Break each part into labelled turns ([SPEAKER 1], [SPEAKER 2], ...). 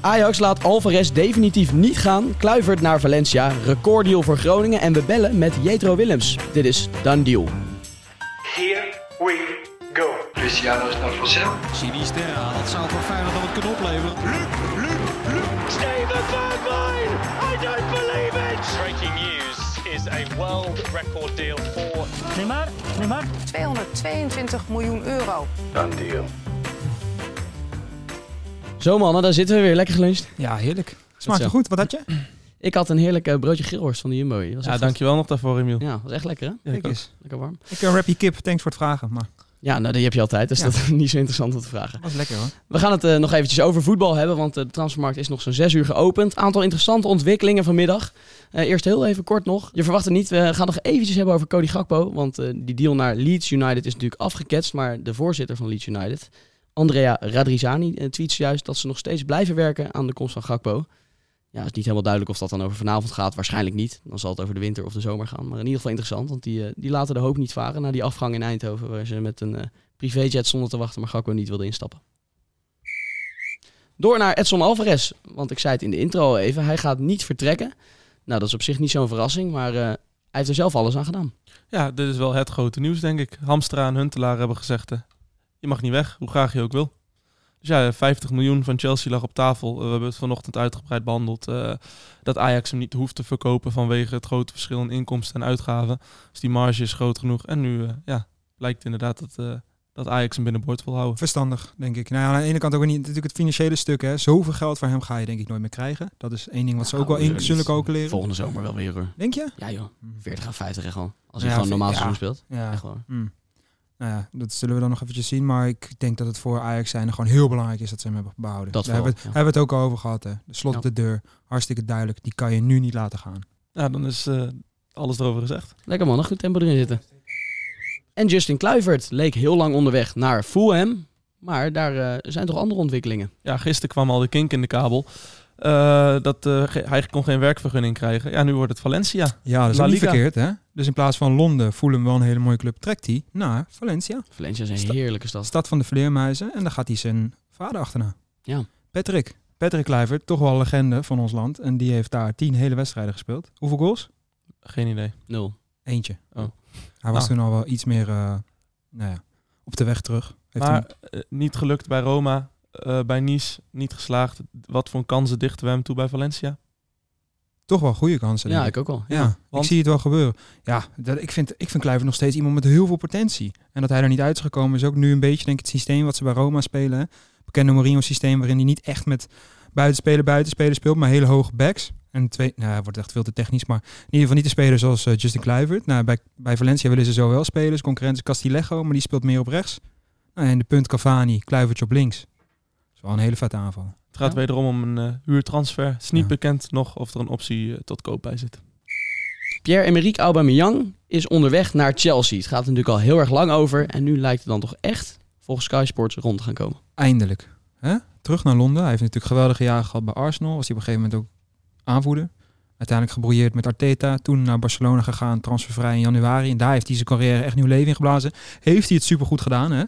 [SPEAKER 1] Ajax laat Alvarez definitief niet gaan. Kluivert naar Valencia. Recorddeal voor Groningen. En we bellen met Jetro Willems. Dit is Done Deal.
[SPEAKER 2] Here we go. Cristiano is naar vanzelf.
[SPEAKER 3] Sinisterra, dat zou voor Feyenoord dan wat kunnen opleveren.
[SPEAKER 4] Steven Bergwijn! I don't believe it!
[SPEAKER 5] Breaking news is a world record deal for
[SPEAKER 6] 222 miljoen euro.
[SPEAKER 1] Zo mannen, daar zitten we weer. Lekker geluncht.
[SPEAKER 7] Ja, heerlijk.
[SPEAKER 1] zo.
[SPEAKER 7] Smaakte goed. Wat had je?
[SPEAKER 1] Ik had een heerlijk eh, broodje grillworst van de Jumbo. hier. Was
[SPEAKER 8] Ja,
[SPEAKER 1] echt
[SPEAKER 8] dankjewel nog daarvoor, Emiel.
[SPEAKER 1] goed. Ja, was echt lekker hè?
[SPEAKER 8] Ja, ik
[SPEAKER 7] Kijk
[SPEAKER 8] ook.
[SPEAKER 7] eens.
[SPEAKER 1] Lekker warm.
[SPEAKER 7] eh, Ik een rappie kip. Thanks voor het vragen. Maar
[SPEAKER 1] Ja, nou die heb je altijd. Dus
[SPEAKER 7] Ja.
[SPEAKER 1] dat is niet zo interessant om te vragen.
[SPEAKER 7] was lekker hoor.
[SPEAKER 1] We gaan het eh, nog eventjes over voetbal hebben, want eh, de transfermarkt is nog zo'n zes uur geopend. Aantal interessante ontwikkelingen vanmiddag. Eh, eerst heel even kort nog. Je verwacht het niet, we gaan nog eventjes hebben over Cody Gakpo. Want eh, die deal naar Leeds United is natuurlijk afgeketst. Maar de voorzitter van Leeds United, Andrea Radrizani, eh, tweet juist dat ze nog steeds blijven werken aan de komst van Gakpo. Ja, het is niet helemaal duidelijk of dat dan over vanavond gaat. Waarschijnlijk niet. Dan zal het over de winter of de zomer gaan. Maar in ieder geval interessant, want die, eh, die laten de hoop niet varen na die afgang in Eindhoven. Waar ze met een eh, privéjet zonder te wachten, maar Gakpo niet wilde instappen. Door naar Edson Alvarez. Want ik zei het in de intro al even, hij gaat niet vertrekken. Nou, dat is op zich niet zo'n verrassing, maar eh, hij heeft er zelf alles aan gedaan.
[SPEAKER 8] Ja, dit is wel het grote nieuws, denk ik. Hamstra en Huntelaar hebben gezegd, eh, je mag niet weg, hoe graag je ook wil. Dus ja, 50 miljoen van Chelsea lag op tafel. Eh, We hebben het vanochtend uitgebreid behandeld. eh, dat Ajax hem niet hoeft te verkopen vanwege het grote verschil in inkomsten en uitgaven. Dus die marge is groot genoeg. En nu eh, ja, blijkt inderdaad dat, eh, dat Ajax hem binnenboord wil houden.
[SPEAKER 7] Verstandig, denk ik. Nou ja, aan de ene kant ook weer niet natuurlijk het financiële stuk. Hè. Zoveel geld van hem ga je denk ik nooit meer krijgen. Dat is één ding wat ze ook wel
[SPEAKER 1] Nou,
[SPEAKER 7] in zullen calculeren.
[SPEAKER 1] Volgende zomer wel weer hoor.
[SPEAKER 7] Denk je?
[SPEAKER 1] Ja joh, 40 à 50 echt wel. Als hij gewoon
[SPEAKER 7] Ja, vind-
[SPEAKER 1] normaal
[SPEAKER 7] ja.
[SPEAKER 1] seizoen speelt.
[SPEAKER 7] Ja.
[SPEAKER 1] Echt wel.
[SPEAKER 7] Hmm. Nou ja, dat zullen we dan nog eventjes zien. Maar ik denk dat het voor Ajax zijn gewoon heel belangrijk is dat ze hem hebben behouden.
[SPEAKER 1] Dat
[SPEAKER 7] Daar hebben we
[SPEAKER 1] vooral,
[SPEAKER 7] het, hebben we het ook al over gehad. Hè. De slot op
[SPEAKER 1] Ja.
[SPEAKER 7] de deur. Hartstikke duidelijk. Die kan je nu niet laten gaan.
[SPEAKER 8] Ja, dan is eh, alles erover gezegd.
[SPEAKER 1] Lekker man, een goed tempo erin zitten. En Justin Kluivert leek heel lang onderweg naar Fulham. Maar daar eh, zijn toch andere ontwikkelingen.
[SPEAKER 8] Ja, gisteren kwam al de kink in de kabel. Eh, dat, eh, ge- hij kon geen werkvergunning krijgen. Ja, nu wordt het Valencia.
[SPEAKER 7] Ja, dat is
[SPEAKER 8] La
[SPEAKER 7] ook niet
[SPEAKER 8] Liga.
[SPEAKER 7] verkeerd. Hè. Dus in plaats van Londen voelen we wel een hele mooie club. Trekt hij naar Valencia.
[SPEAKER 1] Valencia is een
[SPEAKER 7] Sta-
[SPEAKER 1] heerlijke stad.
[SPEAKER 7] Stad van de Vleermuizen. En dan gaat hij zijn vader achterna.
[SPEAKER 1] Ja.
[SPEAKER 7] Patrick. Patrick Kluivert, toch wel een legende van ons land. En die heeft daar tien hele wedstrijden gespeeld. Hoeveel goals?
[SPEAKER 8] Geen idee.
[SPEAKER 1] Nul.
[SPEAKER 7] Eentje.
[SPEAKER 8] Oh.
[SPEAKER 7] Hij was
[SPEAKER 8] Nou.
[SPEAKER 7] toen al wel iets meer eh, nou ja, op de weg terug. Heeft
[SPEAKER 8] maar
[SPEAKER 7] hem-
[SPEAKER 8] eh, niet gelukt bij Roma, eh, bij Nice, niet geslaagd. Wat voor kansen dichten we hem toe bij Valencia?
[SPEAKER 7] toch wel goede kansen.
[SPEAKER 1] Ja,
[SPEAKER 7] denk
[SPEAKER 1] ik ook wel.
[SPEAKER 7] ik. ja,
[SPEAKER 8] want-
[SPEAKER 7] ik zie het wel gebeuren. Ja, dat, ik, vind, ik vind Kluivert nog steeds iemand met heel veel potentie. En dat hij er niet uit is gekomen is ook nu een beetje denk ik, het systeem wat ze bij Roma spelen. hè. Bekende Mourinho-systeem waarin hij niet echt met buitenspeler buitenspelen speelt, maar hele hoge backs. En twee, nou, hij wordt echt veel te technisch, maar in ieder geval niet de speler zoals eh, Justin Kluivert. Nou, bij, bij Valencia willen ze zo wel spelers. Concurrent is Castillejo, maar die speelt meer op rechts. Nou, en de punt Cavani, Kluivertje op links. Dat is wel een hele vette aanval.
[SPEAKER 8] Het gaat
[SPEAKER 1] Ja.
[SPEAKER 8] wederom om een eh, huurtransfer. Het is niet
[SPEAKER 7] Ja.
[SPEAKER 8] bekend nog of er een optie eh, tot koop bij zit.
[SPEAKER 1] Pierre-Emerick Aubameyang is onderweg naar Chelsea. Het gaat er natuurlijk al heel erg lang over. En nu lijkt het dan toch echt volgens Sky Sports rond te gaan komen.
[SPEAKER 7] eindelijk. Hè? Terug naar Londen. Hij heeft natuurlijk geweldige jaren gehad bij Arsenal. Was hij op een gegeven moment ook aanvoerder. Uiteindelijk gebrouilleerd met Arteta. Toen naar Barcelona gegaan, transfervrij in januari. En daar heeft hij zijn carrière echt nieuw leven in geblazen. Heeft hij het supergoed gedaan, hè?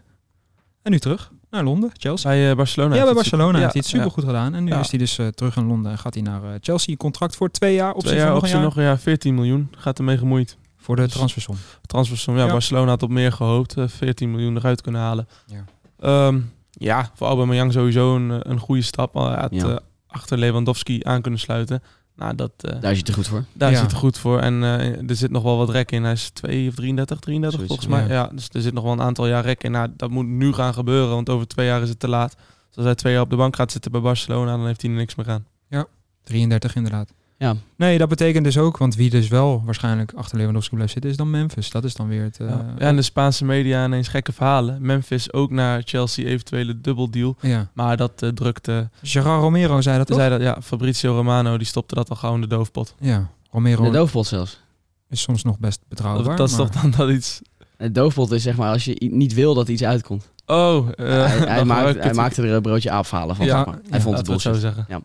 [SPEAKER 7] En nu terug naar Londen, Chelsea.
[SPEAKER 8] Bij eh, Barcelona.
[SPEAKER 7] ja, bij
[SPEAKER 8] heeft het
[SPEAKER 7] Barcelona
[SPEAKER 8] super-
[SPEAKER 7] heeft hij het
[SPEAKER 8] ja, ja.
[SPEAKER 7] supergoed gedaan. En nu
[SPEAKER 8] Ja.
[SPEAKER 7] is hij dus eh, terug in Londen en gaat hij naar eh, Chelsea. Een contract voor twee jaar, optie
[SPEAKER 8] Twee jaar,
[SPEAKER 7] voor nog
[SPEAKER 8] optie
[SPEAKER 7] een jaar.
[SPEAKER 8] nog een jaar, 14 miljoen. Gaat ermee gemoeid.
[SPEAKER 7] Voor de
[SPEAKER 8] Dus-
[SPEAKER 7] transfersom.
[SPEAKER 8] Transfersom, ja,
[SPEAKER 7] Ja.
[SPEAKER 8] Barcelona had op meer gehoopt. eh, 14 miljoen eruit kunnen halen.
[SPEAKER 7] Ja.
[SPEAKER 8] Ja, ja voor Aubameyang sowieso een, eh, een goede stap. Al Hij had
[SPEAKER 1] Ja.
[SPEAKER 8] eh, achter Lewandowski aan kunnen sluiten. Nou, dat, eh,
[SPEAKER 1] Daar zit het goed voor.
[SPEAKER 8] Daar
[SPEAKER 7] Ja.
[SPEAKER 8] zit het goed voor. En eh, er zit nog wel wat rek in. Hij is 2 of 33, 33
[SPEAKER 1] Zoiets,
[SPEAKER 8] volgens mij. Ja. dus er zit nog wel een aantal jaar rek in. Nou, dat moet nu gaan gebeuren, want over twee jaar is het te laat. Dus als hij twee jaar op de bank gaat zitten bij Barcelona, dan heeft hij er niks meer aan.
[SPEAKER 7] 33 inderdaad.
[SPEAKER 1] Ja.
[SPEAKER 7] Nee, dat betekent dus ook, want wie dus wel waarschijnlijk achter Lewandowski blijft zitten, is dan Memphis. Dat is dan weer het... eh,
[SPEAKER 8] ja. en de Spaanse media ineens gekke verhalen. Memphis ook naar Chelsea, eventuele dubbeldeal.
[SPEAKER 7] ja.
[SPEAKER 8] Maar dat eh, drukte.
[SPEAKER 7] Gerard Romero zei dat toch? Oh,
[SPEAKER 8] Zei dat, ja, Fabrizio Romano die stopte dat al gauw in de doofpot.
[SPEAKER 7] Ja,
[SPEAKER 1] De
[SPEAKER 7] Romero
[SPEAKER 1] doofpot zelfs.
[SPEAKER 7] is soms nog best betrouwbaar.
[SPEAKER 8] dat, dat is
[SPEAKER 7] maar-
[SPEAKER 8] toch dan dat iets.
[SPEAKER 1] De doofpot is zeg maar als je i- niet wil dat iets uitkomt.
[SPEAKER 8] Oh, eh,
[SPEAKER 1] hij,
[SPEAKER 8] dan
[SPEAKER 1] hij,
[SPEAKER 8] gebruik
[SPEAKER 1] maakt,
[SPEAKER 8] ik
[SPEAKER 1] hij
[SPEAKER 8] het.
[SPEAKER 1] maakte er een broodje afhalen van.
[SPEAKER 7] Ja,
[SPEAKER 1] zeg maar. Hij
[SPEAKER 7] ja,
[SPEAKER 1] vond het
[SPEAKER 8] Laten we het zo
[SPEAKER 1] bullshit.
[SPEAKER 8] zeggen.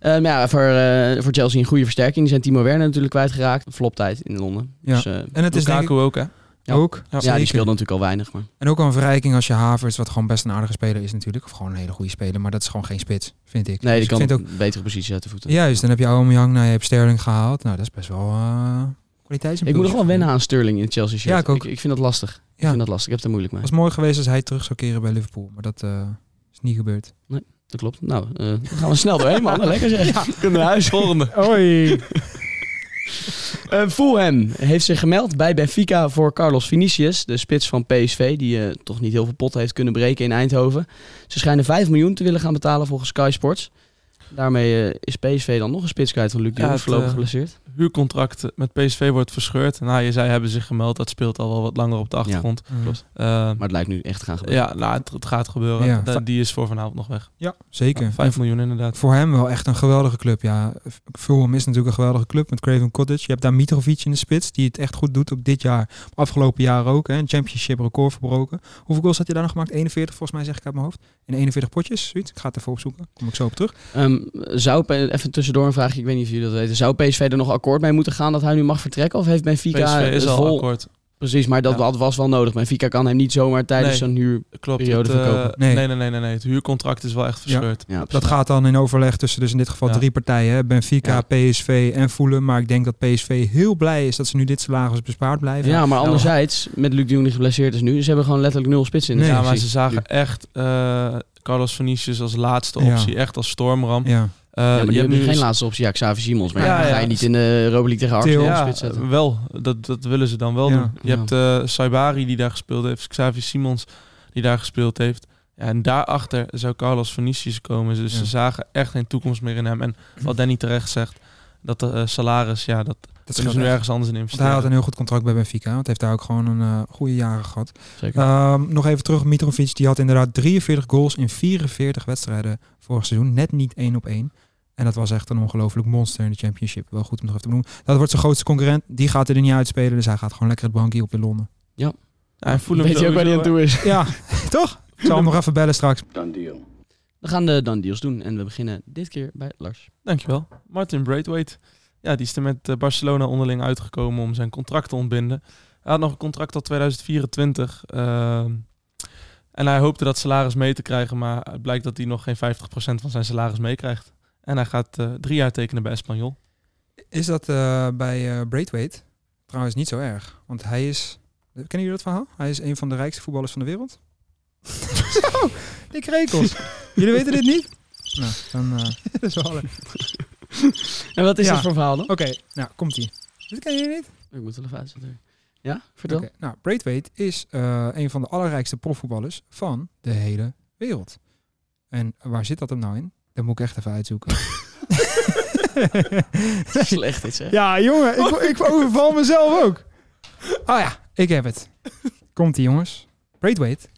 [SPEAKER 1] Ehm, ja, voor, eh, voor Chelsea een goede versterking. Die zijn Timo Werner natuurlijk kwijtgeraakt. Floptijd in Londen.
[SPEAKER 7] Ja.
[SPEAKER 1] Dus, eh,
[SPEAKER 7] En het is denk
[SPEAKER 8] Lukaku
[SPEAKER 7] ik,
[SPEAKER 8] ook, hè?
[SPEAKER 1] Ja.
[SPEAKER 7] Ook.
[SPEAKER 1] Ja, die
[SPEAKER 7] Zeker.
[SPEAKER 1] speelde natuurlijk al weinig. Maar...
[SPEAKER 7] En ook al een verrijking als je Havers, wat gewoon best een aardige speler is natuurlijk. Of gewoon een hele goede speler, maar dat is gewoon geen spits, vind
[SPEAKER 1] Nee,
[SPEAKER 7] ik. Dus
[SPEAKER 1] die
[SPEAKER 7] ik
[SPEAKER 1] kan
[SPEAKER 7] vind ook,
[SPEAKER 1] ook betere positie uit de voeten.
[SPEAKER 7] Juist, dan heb je Aubameyang, nou, je hebt Sterling gehaald. Nou, dat is best wel eh kwaliteitsimpuls.
[SPEAKER 1] Ik moet nog wel wennen aan Sterling in het Chelsea shirt.
[SPEAKER 7] Ja, ik ook.
[SPEAKER 1] Ik, vind dat lastig. Ik
[SPEAKER 7] Ja.
[SPEAKER 1] vind dat lastig. Ik heb het er moeilijk mee.
[SPEAKER 7] Het was mooi geweest als hij terug zou keren bij Liverpool, maar dat eh, is niet gebeurd.
[SPEAKER 1] Dat klopt. Nou, eh, dan gaan we snel doorheen, man. Lekker zeg. Kunnen naar huis. Volgende.
[SPEAKER 7] Hoi!
[SPEAKER 1] Eh, Fulham heeft zich gemeld bij Benfica voor Carlos Vinicius, de spits van PSV, die eh, toch niet heel veel pot heeft kunnen breken in Eindhoven. Ze schijnen 5 miljoen te willen gaan betalen volgens Sky Sports. Daarmee eh, is PSV dan nog een spits kwijt van Luc de
[SPEAKER 8] Ja,
[SPEAKER 1] Jong,
[SPEAKER 8] het,
[SPEAKER 1] voorlopig
[SPEAKER 8] eh,
[SPEAKER 1] geblesseerd.
[SPEAKER 8] Huurcontract met PSV wordt verscheurd. Nou, je zei hebben zich gemeld. Dat speelt al wel wat langer op de achtergrond.
[SPEAKER 1] Klopt.
[SPEAKER 8] Ja,
[SPEAKER 1] Maar het lijkt nu echt te gaan gebeuren.
[SPEAKER 8] ja nou, het, het gaat gebeuren.
[SPEAKER 7] Ja.
[SPEAKER 8] Da- die is voor vanavond nog weg.
[SPEAKER 7] ja, zeker.
[SPEAKER 8] Ja, 5 miljoen inderdaad.
[SPEAKER 7] Voor hem wel echt een geweldige club. Ja, Fulham is natuurlijk een geweldige club met Craven Cottage. Je hebt daar Mitrovic in de spits, die het echt goed doet ook dit jaar. Afgelopen jaar ook, hè, een championship record verbroken. Hoeveel goals had hij daar nog gemaakt? 41 volgens mij, zeg ik uit mijn hoofd. In 41 potjes, zoiets. Ik ga het even opzoeken, kom ik zo op terug.
[SPEAKER 1] Ehm, zou, P- even tussendoor een vraagje, ik weet niet of jullie dat weten. Zou PSV er nog akkoord mee moeten gaan dat hij nu mag vertrekken? Of heeft Benfica
[SPEAKER 8] PSV is
[SPEAKER 1] het
[SPEAKER 8] al
[SPEAKER 1] vol-
[SPEAKER 8] akkoord.
[SPEAKER 1] Precies, maar dat
[SPEAKER 8] Ja.
[SPEAKER 1] had- was wel nodig. Benfica kan hem niet zomaar tijdens
[SPEAKER 8] Nee.
[SPEAKER 1] zo'n huur...
[SPEAKER 8] Klopt.
[SPEAKER 1] Periode
[SPEAKER 8] het, eh,
[SPEAKER 1] verkopen.
[SPEAKER 7] Nee.
[SPEAKER 8] nee, nee, nee, nee, nee. Het huurcontract is wel echt verscheurd.
[SPEAKER 1] Ja,
[SPEAKER 7] Dat gaat dan in overleg tussen dus in dit geval
[SPEAKER 8] Ja.
[SPEAKER 7] drie partijen. hè. Benfica,
[SPEAKER 1] Ja.
[SPEAKER 7] PSV en Fulham. Maar ik denk dat PSV heel blij is dat ze nu dit salaris bespaard blijven.
[SPEAKER 1] Ja, maar anderzijds, met Luc de Jong die geblesseerd is nu, ze hebben gewoon letterlijk nul spits in. de
[SPEAKER 7] Nee.
[SPEAKER 8] ja,
[SPEAKER 1] selectie.
[SPEAKER 8] maar ze zagen echt eh, Carlos Vinicius als laatste
[SPEAKER 7] Ja.
[SPEAKER 8] optie. Echt als stormram.
[SPEAKER 7] Ja.
[SPEAKER 8] Eh,
[SPEAKER 1] Ja, maar die
[SPEAKER 8] je hebt
[SPEAKER 1] hebben nu
[SPEAKER 8] nu
[SPEAKER 1] geen laatste optie. Ja, Xavi Simons. Maar
[SPEAKER 8] Ja,
[SPEAKER 1] ja,
[SPEAKER 8] ja.
[SPEAKER 1] ga je niet in de Europa League tegen Arsenal op
[SPEAKER 8] Ja,
[SPEAKER 1] spits zetten.
[SPEAKER 8] wel. Dat, dat willen ze dan wel
[SPEAKER 7] Ja.
[SPEAKER 8] doen. Je
[SPEAKER 1] Ja.
[SPEAKER 8] hebt eh Saibari die daar gespeeld heeft. Xavi Simons die daar gespeeld heeft. Ja, en daarachter zou Carlos Vinicius komen. Dus
[SPEAKER 7] Ja.
[SPEAKER 8] ze zagen echt geen toekomst meer in hem. En wat Danny terecht zegt, dat de eh, salaris, ja, dat
[SPEAKER 7] Dat
[SPEAKER 8] kunnen ze nu ergens anders in
[SPEAKER 7] Want hij had een
[SPEAKER 8] investeren.
[SPEAKER 7] heel goed contract bij Benfica. Want heeft daar ook gewoon een eh, goede jaren gehad.
[SPEAKER 1] Zeker.
[SPEAKER 7] Ehm, nog even terug, Mitrovic. Die had inderdaad 43 goals in 44 wedstrijden vorig seizoen. Net niet één op één. En dat was echt een ongelooflijk monster in de championship. Wel goed om nog even te noemen. Dat wordt zijn grootste concurrent. Die gaat er niet uitspelen. Dus hij gaat gewoon lekker het bankje op in Londen.
[SPEAKER 8] Ja, en Fulham
[SPEAKER 1] Weet je ook waar
[SPEAKER 8] sowieso,
[SPEAKER 1] die aan
[SPEAKER 8] hè.
[SPEAKER 1] toe is.
[SPEAKER 7] Ja, toch? Ik zal hem nog even bellen straks.
[SPEAKER 1] We gaan de dan deals doen. En we beginnen dit keer bij Lars.
[SPEAKER 8] Dankjewel. Martin Braithwaite. Ja, die is er met eh, Barcelona onderling uitgekomen om zijn contract te ontbinden. Hij had nog een contract tot 2024. ehm, en hij hoopte dat salaris mee te krijgen, maar het blijkt dat hij nog geen 50% van zijn salaris meekrijgt. En hij gaat eh, drie jaar tekenen bij Espanyol.
[SPEAKER 7] Is dat eh, bij eh Braithwaite trouwens niet zo erg? Want hij is... Kennen jullie dat verhaal? Hij is een van de rijkste voetballers van de wereld. zo, Dick Rekels. jullie weten dit niet? Nou, dan... eh, dat is wel... Oké,
[SPEAKER 1] En wat is
[SPEAKER 7] Ja.
[SPEAKER 1] dat voor verhaal dan?
[SPEAKER 7] nou, komt-ie. Dit kennen jullie niet?
[SPEAKER 8] Oh.
[SPEAKER 1] Ik moet er even uitzetten. Ja, vertel.
[SPEAKER 7] Oké, nou, Braithwaite is eh, een van de allerrijkste profvoetballers van de hele wereld. En waar zit dat hem nou in? Dat moet ik echt even uitzoeken.
[SPEAKER 1] Slecht dit zeg.
[SPEAKER 7] Ja, jongen, ik, ik overval mezelf ook. Oh ja, ik heb het. Komt ie, jongens. Braithwaite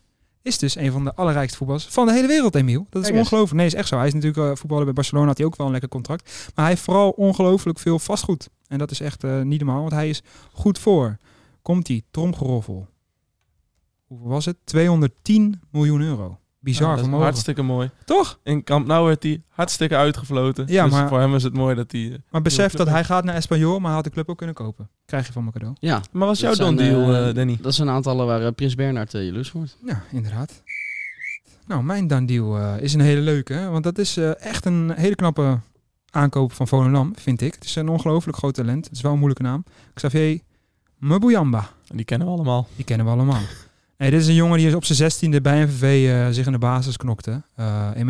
[SPEAKER 7] is dus een van de allerrijkste voetballers van de hele wereld, Emiel. Dat is
[SPEAKER 1] Kijk eens.
[SPEAKER 7] ongelooflijk. Nee, is echt zo. Hij is natuurlijk eh, voetballer bij Barcelona, had hij ook wel een lekker contract. Maar hij heeft vooral ongelooflijk veel vastgoed. En dat is echt eh, niet normaal, want hij is goed voor. Komt ie, tromgeroffel. Hoeveel was het? 210 miljoen euro. Bizar
[SPEAKER 8] Ja, dat is
[SPEAKER 7] vermogen.
[SPEAKER 8] hartstikke mooi.
[SPEAKER 7] Toch?
[SPEAKER 8] In Camp Nou werd hij hartstikke uitgefloten.
[SPEAKER 7] Ja,
[SPEAKER 8] dus
[SPEAKER 7] maar-
[SPEAKER 8] voor hem is het mooi dat hij... eh,
[SPEAKER 7] Maar
[SPEAKER 8] Nieuwe
[SPEAKER 7] besef
[SPEAKER 8] club
[SPEAKER 7] dat hij gaat naar Espanyol, maar hij had de club ook kunnen kopen. Krijg je van mijn cadeau.
[SPEAKER 1] Ja,
[SPEAKER 8] Maar was jouw
[SPEAKER 1] Dat
[SPEAKER 8] don
[SPEAKER 1] zijn,
[SPEAKER 8] deal,
[SPEAKER 1] eh,
[SPEAKER 8] eh, Danny?
[SPEAKER 1] dat zijn aantallen waar eh, Prins Bernhard eh, jaloers wordt.
[SPEAKER 7] Ja, inderdaad. Nou, mijn done deal eh, is een hele leuke. hè, Want dat is eh, echt een hele knappe aankoop van Volendam, vind ik. Het is een ongelooflijk groot talent. Het is wel een moeilijke naam. Xavier Mbuyamba.
[SPEAKER 8] Die kennen we allemaal.
[SPEAKER 7] Die kennen we allemaal. Nee, dit is een jongen die is op zijn zestiende bij NVV eh, zich in de basis knokte. Eh 1,95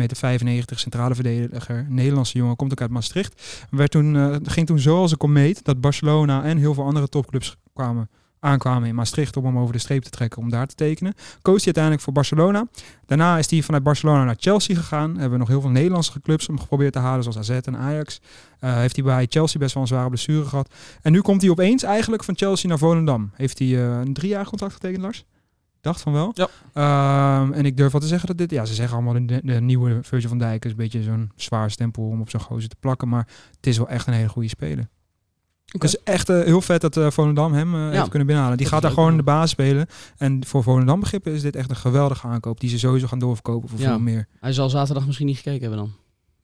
[SPEAKER 7] meter, centrale verdediger. Nederlandse jongen, komt ook uit Maastricht. Werd toen, eh, ging toen zo als een komeet dat Barcelona en heel veel andere topclubs kwamen, aankwamen in Maastricht om hem over de streep te trekken om daar te tekenen. Koos hij uiteindelijk voor Barcelona. Daarna is hij vanuit Barcelona naar Chelsea gegaan. Hebben nog heel veel Nederlandse clubs hem geprobeerd te halen, zoals AZ en Ajax. Eh, heeft hij bij Chelsea best wel een zware blessure gehad. En nu komt hij opeens eigenlijk van Chelsea naar Volendam. Heeft hij eh, een drie jaar contract getekend, Lars? Dacht van wel.
[SPEAKER 8] Ja.
[SPEAKER 7] Ehm, en ik durf wel te zeggen dat dit... Ja, ze zeggen allemaal de, de nieuwe Virgil van Dijk is een beetje zo'n zwaar stempel om op zo'n gozer te plakken. Maar het is wel echt een hele goede speler. Het is echt eh, heel vet dat eh, Volendam hem eh, heeft kunnen binnenhalen. Die
[SPEAKER 1] dat
[SPEAKER 7] gaat
[SPEAKER 1] is
[SPEAKER 7] daar
[SPEAKER 1] leuk,
[SPEAKER 7] gewoon in de
[SPEAKER 1] ja.
[SPEAKER 7] baas spelen. En voor Volendam begrippen is dit echt een geweldige aankoop. Die ze sowieso gaan doorverkopen voor
[SPEAKER 1] Ja.
[SPEAKER 7] veel meer.
[SPEAKER 1] Hij zal zaterdag misschien niet gekeken hebben dan.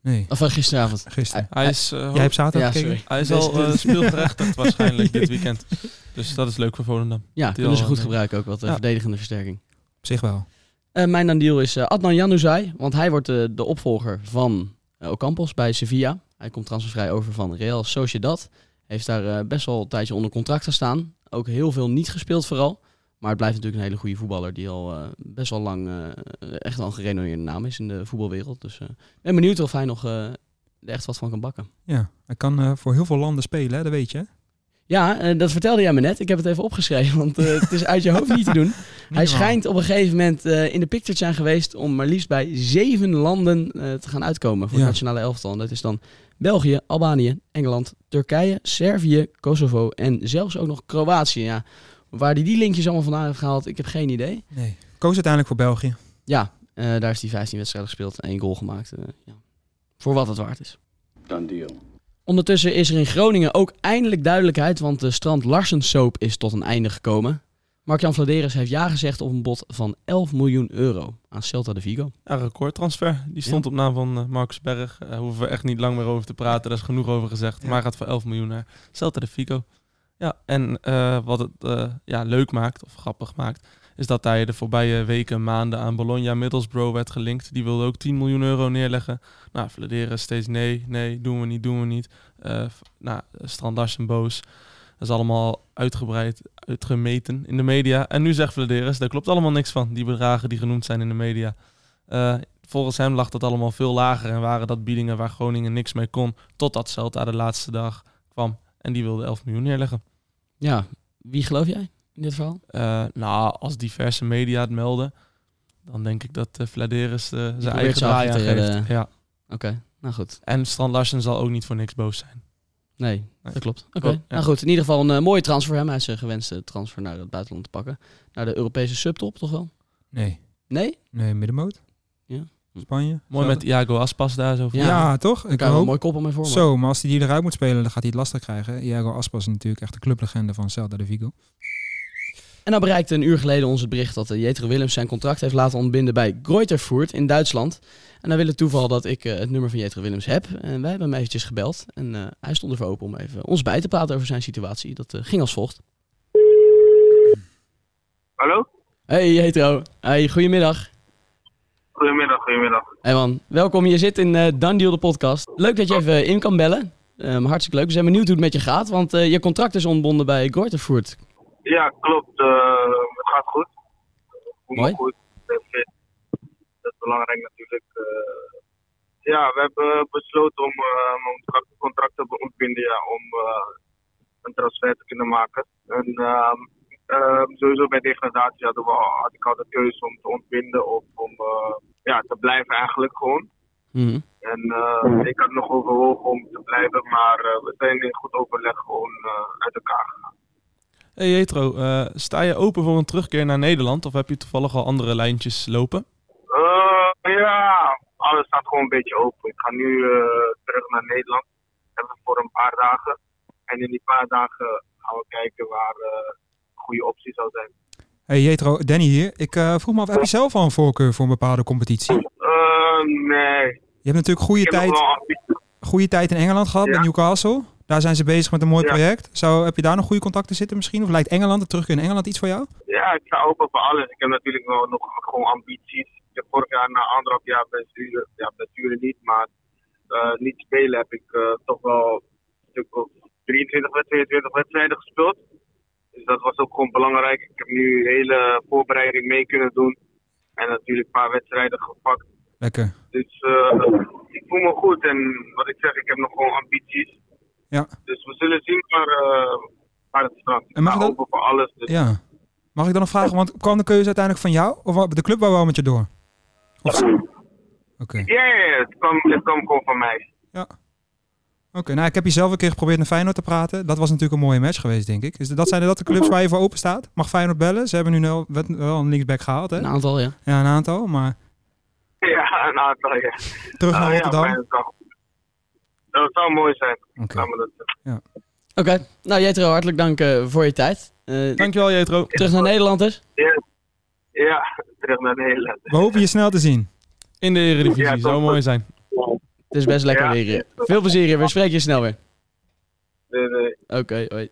[SPEAKER 7] Nee,
[SPEAKER 1] Of van gisteravond.
[SPEAKER 7] gisteren.
[SPEAKER 8] Hij is, eh,
[SPEAKER 7] Jij hebt zaterdag
[SPEAKER 1] Ja,
[SPEAKER 7] gekeken?
[SPEAKER 1] sorry.
[SPEAKER 8] hij is
[SPEAKER 1] Dus
[SPEAKER 8] al eh,
[SPEAKER 1] dit-
[SPEAKER 8] speelgerechtigd waarschijnlijk dit weekend. Dus dat is leuk voor Volendam.
[SPEAKER 1] Ja, kunnen ze
[SPEAKER 8] al-
[SPEAKER 1] goed gebruiken ook wat eh,
[SPEAKER 8] Ja.
[SPEAKER 1] verdedigende versterking.
[SPEAKER 7] Op zich wel.
[SPEAKER 1] Eh, mijn dan deal is eh, Adnan Januzaj, want hij wordt eh, de opvolger van eh, Ocampos bij Sevilla. Hij komt transfervrij over van Real Sociedad. Heeft daar eh, best wel een tijdje onder contract gestaan. Ook heel veel niet gespeeld vooral. Maar het blijft natuurlijk een hele goede voetballer die al eh, best wel lang eh, echt al een gerenommeerde naam is in de voetbalwereld. Dus eh, ik ben benieuwd of hij nog eh, er echt wat van kan bakken.
[SPEAKER 7] Ja, hij kan eh, voor heel veel landen spelen, hè, dat weet je. hè?
[SPEAKER 1] Ja, eh, dat vertelde jij me net. Ik heb het even opgeschreven, want eh, het is uit je hoofd niet te doen.
[SPEAKER 7] Niet
[SPEAKER 1] Hij
[SPEAKER 7] normaal.
[SPEAKER 1] schijnt op een gegeven moment eh, in de picture te zijn geweest om maar liefst bij zeven landen eh, te gaan uitkomen voor
[SPEAKER 7] Ja.
[SPEAKER 1] het nationale elftal. En dat is dan België, Albanië, Engeland, Turkije, Servië, Kosovo en zelfs ook nog Kroatië. Ja, waar hij die linkjes allemaal vandaan heeft gehaald, ik heb geen idee.
[SPEAKER 7] Nee. Koos uiteindelijk voor België.
[SPEAKER 1] Ja, eh, daar is hij 15 wedstrijden gespeeld en één goal gemaakt. eh, ja. Voor wat het waard is.
[SPEAKER 6] Done deal.
[SPEAKER 1] Ondertussen is er in Groningen ook eindelijk duidelijkheid, want de Strand Larsen soap is tot een einde gekomen. Mark-Jan Vladeris heeft ja gezegd op een bod van 11 miljoen euro aan Celta de Vigo.
[SPEAKER 8] Ja, recordtransfer. Die stond op naam van eh, Marcus Berg. Daar hoeven we echt niet lang meer over te praten. Daar is genoeg over gezegd.
[SPEAKER 7] Ja.
[SPEAKER 8] Maar hij gaat voor 11 miljoen naar Celta de Vigo. Ja, en eh, wat het eh, ja, leuk maakt, of grappig maakt, is dat hij de voorbije weken, maanden aan Bologna Middlesbrough werd gelinkt. Die wilde ook 10 miljoen euro neerleggen. Nou, Vladeren steeds nee, nee, doen we niet, doen we niet. Eh, v- nou, Strandars en Boos. Dat is allemaal uitgebreid, uitgemeten in de media. En nu zegt Vladeres, daar klopt allemaal niks van, die bedragen die genoemd zijn in de media. Eh, volgens hem lag dat allemaal veel lager en waren dat biedingen waar Groningen niks mee kon. Totdat Celta de laatste dag kwam en die wilde 11 miljoen neerleggen.
[SPEAKER 1] Ja, wie geloof jij in dit verhaal?
[SPEAKER 8] Eh, nou, als diverse media het melden, dan denk ik dat eh Vladeres eh, zijn
[SPEAKER 1] probeert
[SPEAKER 8] eigen
[SPEAKER 1] zijn
[SPEAKER 8] draai aan
[SPEAKER 1] achter te
[SPEAKER 8] geeft.
[SPEAKER 1] redden.
[SPEAKER 8] Ja.
[SPEAKER 1] Oké, nou goed.
[SPEAKER 8] En Strand Larsen zal ook niet voor niks boos zijn.
[SPEAKER 1] Nee,
[SPEAKER 8] Nee.
[SPEAKER 1] dat klopt. Oké,
[SPEAKER 8] Oh, ja.
[SPEAKER 1] nou goed. In ieder geval een eh, mooie transfer voor hem. Hij heeft zijn gewenste transfer naar het buitenland te pakken. Naar de Europese subtop toch wel?
[SPEAKER 7] Nee.
[SPEAKER 1] Nee?
[SPEAKER 7] Nee, middenmoot.
[SPEAKER 1] Ja. Hm.
[SPEAKER 7] Spanje.
[SPEAKER 8] Mooi met Iago Aspas daar zo.
[SPEAKER 1] Ja.
[SPEAKER 7] Ja, toch? Ik
[SPEAKER 1] Daar kan wel een
[SPEAKER 7] hoop.
[SPEAKER 1] mooi koppel mee vormen.
[SPEAKER 7] Zo, maar als hij die eruit moet spelen, dan gaat hij het lastig krijgen. Iago Aspas is natuurlijk echt de clublegende van Celta de Vigo.
[SPEAKER 1] En dan bereikte een uur geleden ons het bericht dat de Jetro Willems zijn contract heeft laten ontbinden bij Greutervoort in Duitsland. En dan wil het toeval dat ik eh, het nummer van Jetro Willems heb. En wij hebben hem eventjes gebeld. En eh, hij stond ervoor open om even ons bij te praten over zijn situatie. Dat eh, ging als volgt.
[SPEAKER 9] Hallo?
[SPEAKER 1] Hey Jetro. Hey, goedemiddag.
[SPEAKER 9] Goedemiddag, goedemiddag.
[SPEAKER 1] Hey man, welkom. Je zit in eh Done Deal, de podcast. Leuk dat je even eh, in kan bellen. Ehm, hartstikke leuk. We zijn benieuwd hoe het met je gaat, want eh, je contract is ontbonden bij Gortervoort.
[SPEAKER 9] Ja, klopt. eh, het gaat goed. Voel me
[SPEAKER 1] Mooi.
[SPEAKER 9] goed. Ik ben fit. Dat is belangrijk natuurlijk. eh. ja, we hebben besloten om eh, mijn contract- contract te ontbinden ja, om eh, een transfer te kunnen maken. En ehm, ehm, sowieso bij degradatie hadden we, al- had ik al de keuze om te ontbinden of om eh, ja, te blijven eigenlijk gewoon.
[SPEAKER 1] Mhm.
[SPEAKER 9] En eh, ik had nog overwogen om te blijven, maar eh, we zijn in goed overleg gewoon eh, uit elkaar gegaan.
[SPEAKER 8] Hey Jetro, eh, sta je open voor een terugkeer naar Nederland of heb je toevallig al andere lijntjes lopen?
[SPEAKER 9] Eh, ja, alles staat gewoon een beetje open. Ik ga nu eh, terug naar Nederland. Even voor een paar dagen. En in die paar dagen gaan we kijken waar eh, een goede optie zou zijn.
[SPEAKER 7] Hey Jetro, Danny hier. Ik eh, vroeg me af, heb je zelf al een voorkeur voor een bepaalde competitie?
[SPEAKER 9] Eh, nee,
[SPEAKER 7] Je hebt natuurlijk goede
[SPEAKER 9] ik heb nog
[SPEAKER 7] tijd,
[SPEAKER 9] wel ambitie.
[SPEAKER 7] goede tijd in Engeland gehad
[SPEAKER 9] Ja.
[SPEAKER 7] bij Newcastle. Daar zijn ze bezig met een mooi
[SPEAKER 9] Ja.
[SPEAKER 7] project. Zou, heb je daar nog goede contacten zitten misschien? Of lijkt Engeland, het terugkeer in Engeland iets voor jou?
[SPEAKER 9] Ja, ik sta open voor alles. Ik heb natuurlijk wel nog gewoon ambities. Ik heb vorig jaar na anderhalf jaar blessure, ja, blessure niet, maar eh, niet spelen heb ik eh, toch wel een stuk of 23 of 22 wedstrijden gespeeld. Dus dat was ook gewoon belangrijk. Ik heb nu hele voorbereiding mee kunnen doen. En natuurlijk een paar wedstrijden gepakt.
[SPEAKER 7] Lekker.
[SPEAKER 9] Dus eh, ik voel me goed. En wat ik zeg, ik heb nog gewoon ambities.
[SPEAKER 7] Ja.
[SPEAKER 9] Dus we zullen zien waar, eh, waar het strand. Ik
[SPEAKER 7] En mag
[SPEAKER 9] sta
[SPEAKER 7] dat-
[SPEAKER 9] open voor alles. Dus
[SPEAKER 7] Ja. Mag ik dan nog vragen, want kwam de keuze uiteindelijk van jou? Of de club wou wel met je door? Of... Oké.
[SPEAKER 9] Ja, ja, ja, het kwam, het kwam gewoon van mij.
[SPEAKER 7] Ja. Oké, nou ik heb je zelf een keer geprobeerd naar Feyenoord te praten. Dat was natuurlijk een mooie match geweest, denk ik. Is dat zijn dat de clubs waar je voor open staat? Mag Feyenoord bellen? Ze hebben nu wel, wel een linksback gehaald, hè?
[SPEAKER 1] Een aantal, ja.
[SPEAKER 7] Ja, een aantal, maar
[SPEAKER 9] Ja, een aantal, ja.
[SPEAKER 7] terug
[SPEAKER 9] Ah,
[SPEAKER 7] naar
[SPEAKER 9] ja,
[SPEAKER 7] Rotterdam.
[SPEAKER 9] fijn, dat kan. Dat zou mooi zijn.
[SPEAKER 7] Oké.
[SPEAKER 9] Laat me dat zeggen.
[SPEAKER 1] Oké, nou Jetro, hartelijk dank eh, voor je tijd. Eh,
[SPEAKER 8] Dankjewel Jetro.
[SPEAKER 1] terug naar Nederland dus.
[SPEAKER 9] Ja. ja, terug naar Nederland.
[SPEAKER 7] We hopen je snel te zien.
[SPEAKER 8] In de Eredivisie,
[SPEAKER 9] Ja,
[SPEAKER 8] zou
[SPEAKER 9] toch.
[SPEAKER 8] mooi zijn.
[SPEAKER 1] Het is best lekker
[SPEAKER 9] Ja.
[SPEAKER 1] weer hier. Veel plezier hier. We spreken je snel weer.
[SPEAKER 9] Nee, nee.
[SPEAKER 1] Oké, hoi.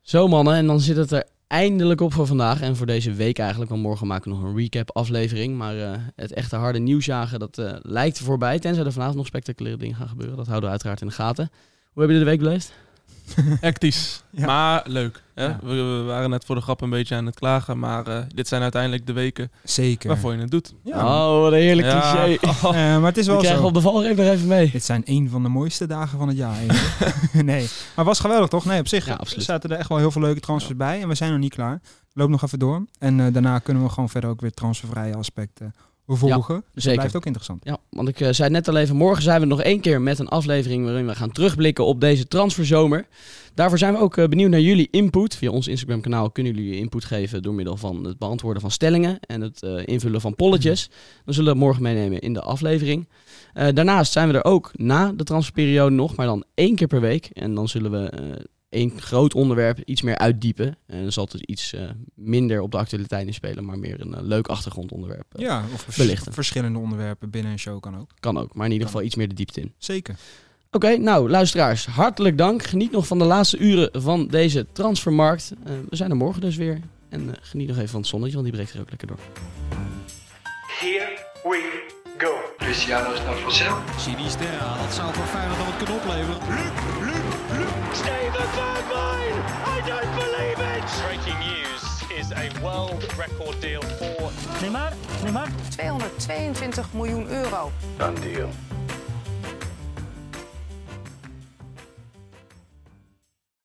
[SPEAKER 1] Zo mannen, en dan zit het er eindelijk op voor vandaag en voor deze week eigenlijk. Want morgen maken we nog een recap aflevering. Maar eh, het echte harde nieuwsjagen, dat eh, lijkt voorbij. Tenzij er vanavond nog spectaculaire dingen gaan gebeuren. Dat houden we uiteraard in de gaten. Hoe hebben jullie de week beleefd?
[SPEAKER 8] Hectisch,
[SPEAKER 7] Ja.
[SPEAKER 8] maar leuk. Hè?
[SPEAKER 7] Ja.
[SPEAKER 8] We, we waren net voor de grap een beetje aan het klagen, maar eh, dit zijn uiteindelijk de weken
[SPEAKER 7] Zeker.
[SPEAKER 8] waarvoor je het doet.
[SPEAKER 7] Ja.
[SPEAKER 1] Oh, wat een heerlijk
[SPEAKER 8] Ja.
[SPEAKER 1] cliché.
[SPEAKER 7] Eh, maar het is
[SPEAKER 1] We
[SPEAKER 7] wel
[SPEAKER 1] krijgen
[SPEAKER 7] zo.
[SPEAKER 1] op de valreep nog even mee.
[SPEAKER 7] Dit zijn een van de mooiste dagen van het jaar. even. nee, maar was geweldig toch? Nee, op zich
[SPEAKER 1] Ja, absoluut.
[SPEAKER 7] zaten er echt wel heel veel leuke transfers bij. En we zijn nog niet klaar. Loop nog even door. En eh, daarna kunnen we gewoon verder ook weer transfervrije aspecten volgen. dus
[SPEAKER 1] zeker.
[SPEAKER 7] dat blijft ook interessant.
[SPEAKER 1] Ja, want ik eh, zei net al even, morgen zijn we nog één keer met een aflevering waarin we gaan terugblikken op deze transferzomer. Daarvoor zijn we ook eh, benieuwd naar jullie input. Via ons Instagram kanaal kunnen jullie je input geven door middel van het beantwoorden van stellingen en het eh, invullen van polletjes. Dan zullen we dat morgen meenemen in de aflevering. Eh, daarnaast zijn we er ook na de transferperiode nog, maar dan één keer per week. En dan zullen we eh, één groot onderwerp iets meer uitdiepen. En dan zal het dus iets eh, minder op de actualiteit in spelen, maar meer een eh, leuk achtergrondonderwerp. eh,
[SPEAKER 7] Ja, of vers-
[SPEAKER 1] Belichten.
[SPEAKER 7] verschillende onderwerpen binnen een show kan ook.
[SPEAKER 1] Kan ook, maar in ieder geval iets meer de diepte in.
[SPEAKER 7] Zeker.
[SPEAKER 1] Oké, nou luisteraars, hartelijk dank. Geniet nog van de laatste uren van deze transfermarkt. Eh, we zijn er morgen dus weer. En eh, geniet nog even van het zonnetje, want die breekt er ook lekker door.
[SPEAKER 2] Here we go. Cristiano is not for sale.
[SPEAKER 3] Sinisterra, dat zou voor Feyenoord dan wat kunnen opleveren.
[SPEAKER 4] Steven Bergwijn! I don't believe it!
[SPEAKER 5] Breaking news is a world record deal for
[SPEAKER 6] 222 miljoen euro.
[SPEAKER 2] Done deal.